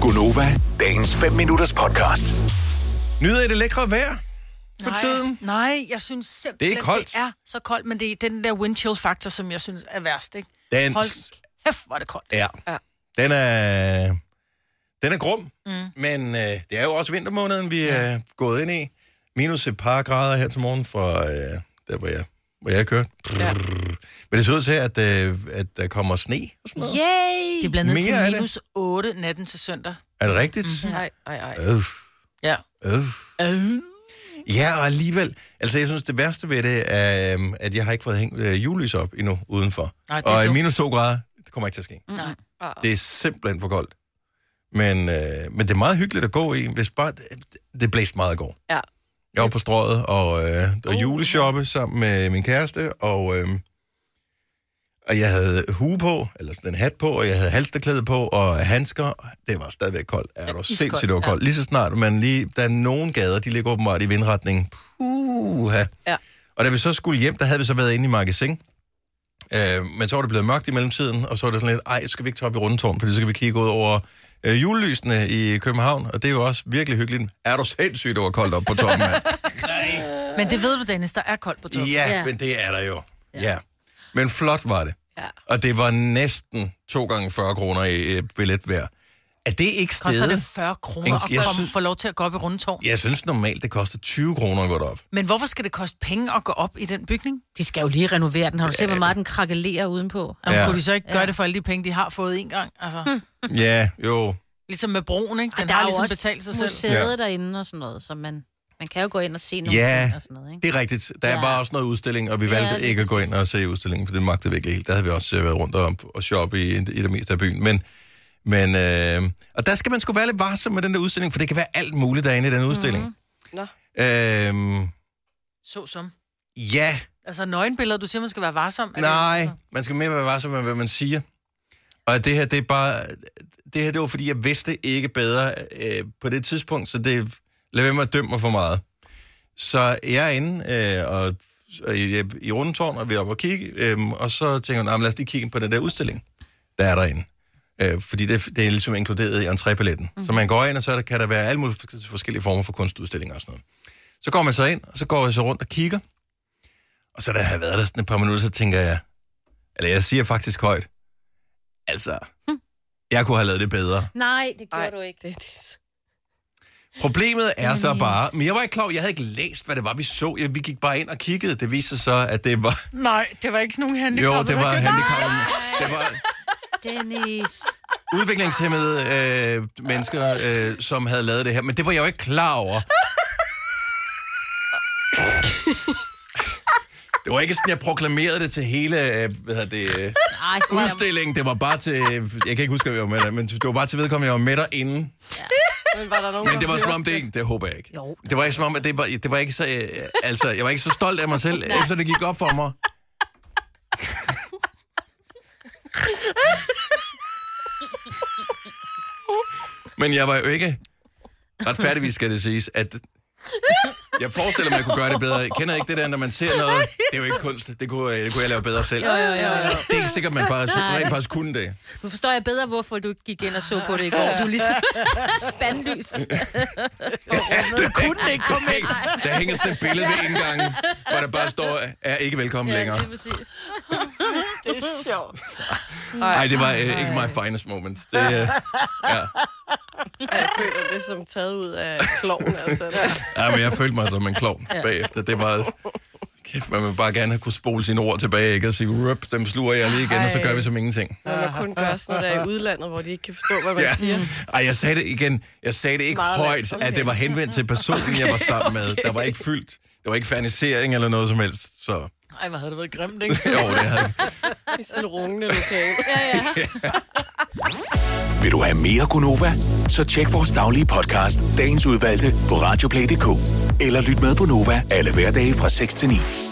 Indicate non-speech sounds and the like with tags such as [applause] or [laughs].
Gunova, dagens 5 minutters podcast. Nyder I det lækre vejr for nej, tiden? Nej, jeg synes simpelthen, Det er koldt. det er så koldt, men det er den der wind chill faktor, som jeg synes er værst, ikke? Den- Hold kæft, hvor er det koldt. Ja. Ja. Den er, den er grum, mm. men øh, det er jo også vintermåneden, vi er gået ind i. Minus et par grader her til morgen fra øh, der, hvor jeg, hvor jeg kørte. Ja. Men det ser ud til, at, øh, at der kommer sne og sådan noget. Yay! Det bliver ned Mere af til det. minus 8 natten til søndag. Er det rigtigt? Mm-hmm. Ej, ej, ej. Mm. Øh, Ja. øh. Ja, og alligevel. Altså, jeg synes, det værste ved det er, øhm, at jeg har ikke fået hængt øh, julelys op endnu udenfor. Nej, det er og i dumt. Uh-uh. minus to grader, det kommer ikke til at ske. Nej. Det er simpelthen for koldt. Men, øh, men det er meget hyggeligt at gå i, hvis bare... Det blæste meget i går. Ja. Jeg var på strøget og, øh, og Uh. juleshoppe sammen med min kæreste, og, øh, og jeg havde hue på, eller sådan en hat på, og jeg havde halsteklæde på, og handsker. Det var stadigvæk koldt. Er du iskoldt, sindssygt, det var ja. koldt. Lige så snart man lige... Der er nogle gader, de ligger åbenbart i vindretning. Puha. Ja. Og da vi så skulle hjem, der havde vi så været inde i magasin. Øh, men så var det blevet mørkt i mellemtiden, og så var det sådan lidt, ej, skal vi ikke tage op i rundetårn, fordi så kan vi kigge ud over øh, julelysene i København, og det er jo også virkelig hyggeligt. Er du sindssygt, det var koldt op på toppen, mand? Men det ved du, Dennis, der er koldt på toppen. ja, Ja. men det er der jo. Ja. ja. Men flot var det. Ja. Og det var næsten 2 gange 40 kroner i øh, billet hver. Er det ikke Koster stedet? det 40 kroner Jeg at synes- komme, få lov til at gå op i rundetårn? Jeg synes normalt, det koster 20 kroner at gå derop. Men hvorfor skal det koste penge at gå op i den bygning? De skal jo lige renovere den. Har du set, hvor meget den krakelerer udenpå? Altså, Ja. ja. Kunne de så ikke gøre det for alle de penge, de har fået en gang? Altså, Ja, jo. ligesom med broen, ikke? Den Der er har jo ligesom også betalt sig selv. museet ja. derinde og sådan noget, så man, man kan jo gå ind og se nogle Ja. ting og sådan noget, ikke? Det er rigtigt. Der ja. Ja. var også noget udstilling, og vi Ja, valgte lige ikke at gå ind og se udstillingen, for det magtede vi ikke helt. Der havde vi også øh, været rundt og, og shoppe i, i det meste af byen. Men, men øh, og der skal man sgu være lidt varsom med den der udstilling, for det kan være alt muligt derinde i den udstilling. Nå. Mm-hmm. Øh, Så som. ja, Altså nøgenbilleder, du siger, man skal være varsom. Er altså- nej. Det, Man skal mere være varsom med, hvad man siger. Og det her, det er bare... Det her, det var, fordi jeg vidste ikke bedre øh, på det tidspunkt, så det... Lad være med at dømme mig for meget. Så jeg er inde øh, og, og i, i rundetårn, og vi er oppe og kigge, øh, og så tænker jeg, "Nå, men lad os lige kigge på den der udstilling, der er derinde. Øh, fordi det, det er ligesom inkluderet i entrépaletten. Mhm. Mm. Så man går ind, og så er der, kan der være alle mulige forskellige former for kunstudstillinger og sådan noget. Så går man så ind, og så går jeg så rundt og kigger. Og så da jeg har været der sådan et par minutter, så tænker jeg, eller jeg siger faktisk højt, altså, jeg kunne have lavet det bedre. Nej, det gjorde Ej, Ej. du ikke. Det, det, Problemet er så bare, men jeg var ikke klar, over- jeg havde ikke læst, hvad det var, vi så. Jeg- Vi gik bare ind og kiggede. Det viste sig så, at det var... nej, det var ikke sådan nogen Jo, handicap. det var handicappede. Ah! Det [laughs] var Dennis. udviklingshemmede øh, mennesker, øh, som havde lavet det her. Men det var jeg jo ikke klar over. Det var ikke sådan, jeg proklamerede det til hele øh, hvad hedder det, øh, Ej, udstillingen. Det var bare til... Jeg kan ikke huske, hvad jeg var med der, men det var bare til vedkommende, jeg var med derinde. Doncs men var der nogen, Men det var der som om det ikke, det håber jeg ikke. Jo, det det var ikke som om, at det var, det var ikke så, øh, altså, jeg var ikke så stolt af mig [laughs] selv, efter det gik op for mig. Men jeg var jo ikke, retfærdigvis skal det siges, at jeg forestiller mig, at jeg kunne gøre det bedre. Jeg kender ikke det der, når man ser noget. Det er jo ikke kunst. Det kunne, øh, det kunne jeg lave bedre selv. Jo, jo, jo, jo. Det er ikke sikkert, at man faktisk, rent faktisk kunne det. Nu forstår jeg bedre, hvorfor du ikke gik ind og så på det i går. Du er [laughs] lige bandlyst. Det kunne ikke komme ind. Der hænger sådan et billede ved indgangen, hvor der bare står, er ikke velkommen længere. det er præcis. Det er sjovt. Nej, det var øh, ikke my finest moment. Det, øh, ja. Ej, Jeg føler det er som taget ud af kloven, altså. ja, men jeg følte mig som en klovn bagefter. Det var... Kæft, man vil bare gerne have kunne spole sine ord tilbage, ikke? Og sige, rup, dem sluger jeg lige igen, og så gør vi som ingenting. Når man kun gør sådan noget der i udlandet, hvor de ikke kan forstå, hvad man Ja. siger. Ej, jeg sagde det igen. Jeg sagde det ikke Meget Meget lavt. højt, okay. Okay. at det var henvendt til personen, jeg var sammen med. Der var ikke fyldt. Der var ikke fernisering eller noget som helst. Så Ej, hvor havde det været grimt, ikke? [laughs] jo, det havde I sådan en rungende lokale. Vil du have mere Gunova? Så tjek vores daglige podcast, dagens udvalgte, på radioplay.dk. Eller lyt med på Nova alle hverdage fra 6 til 9.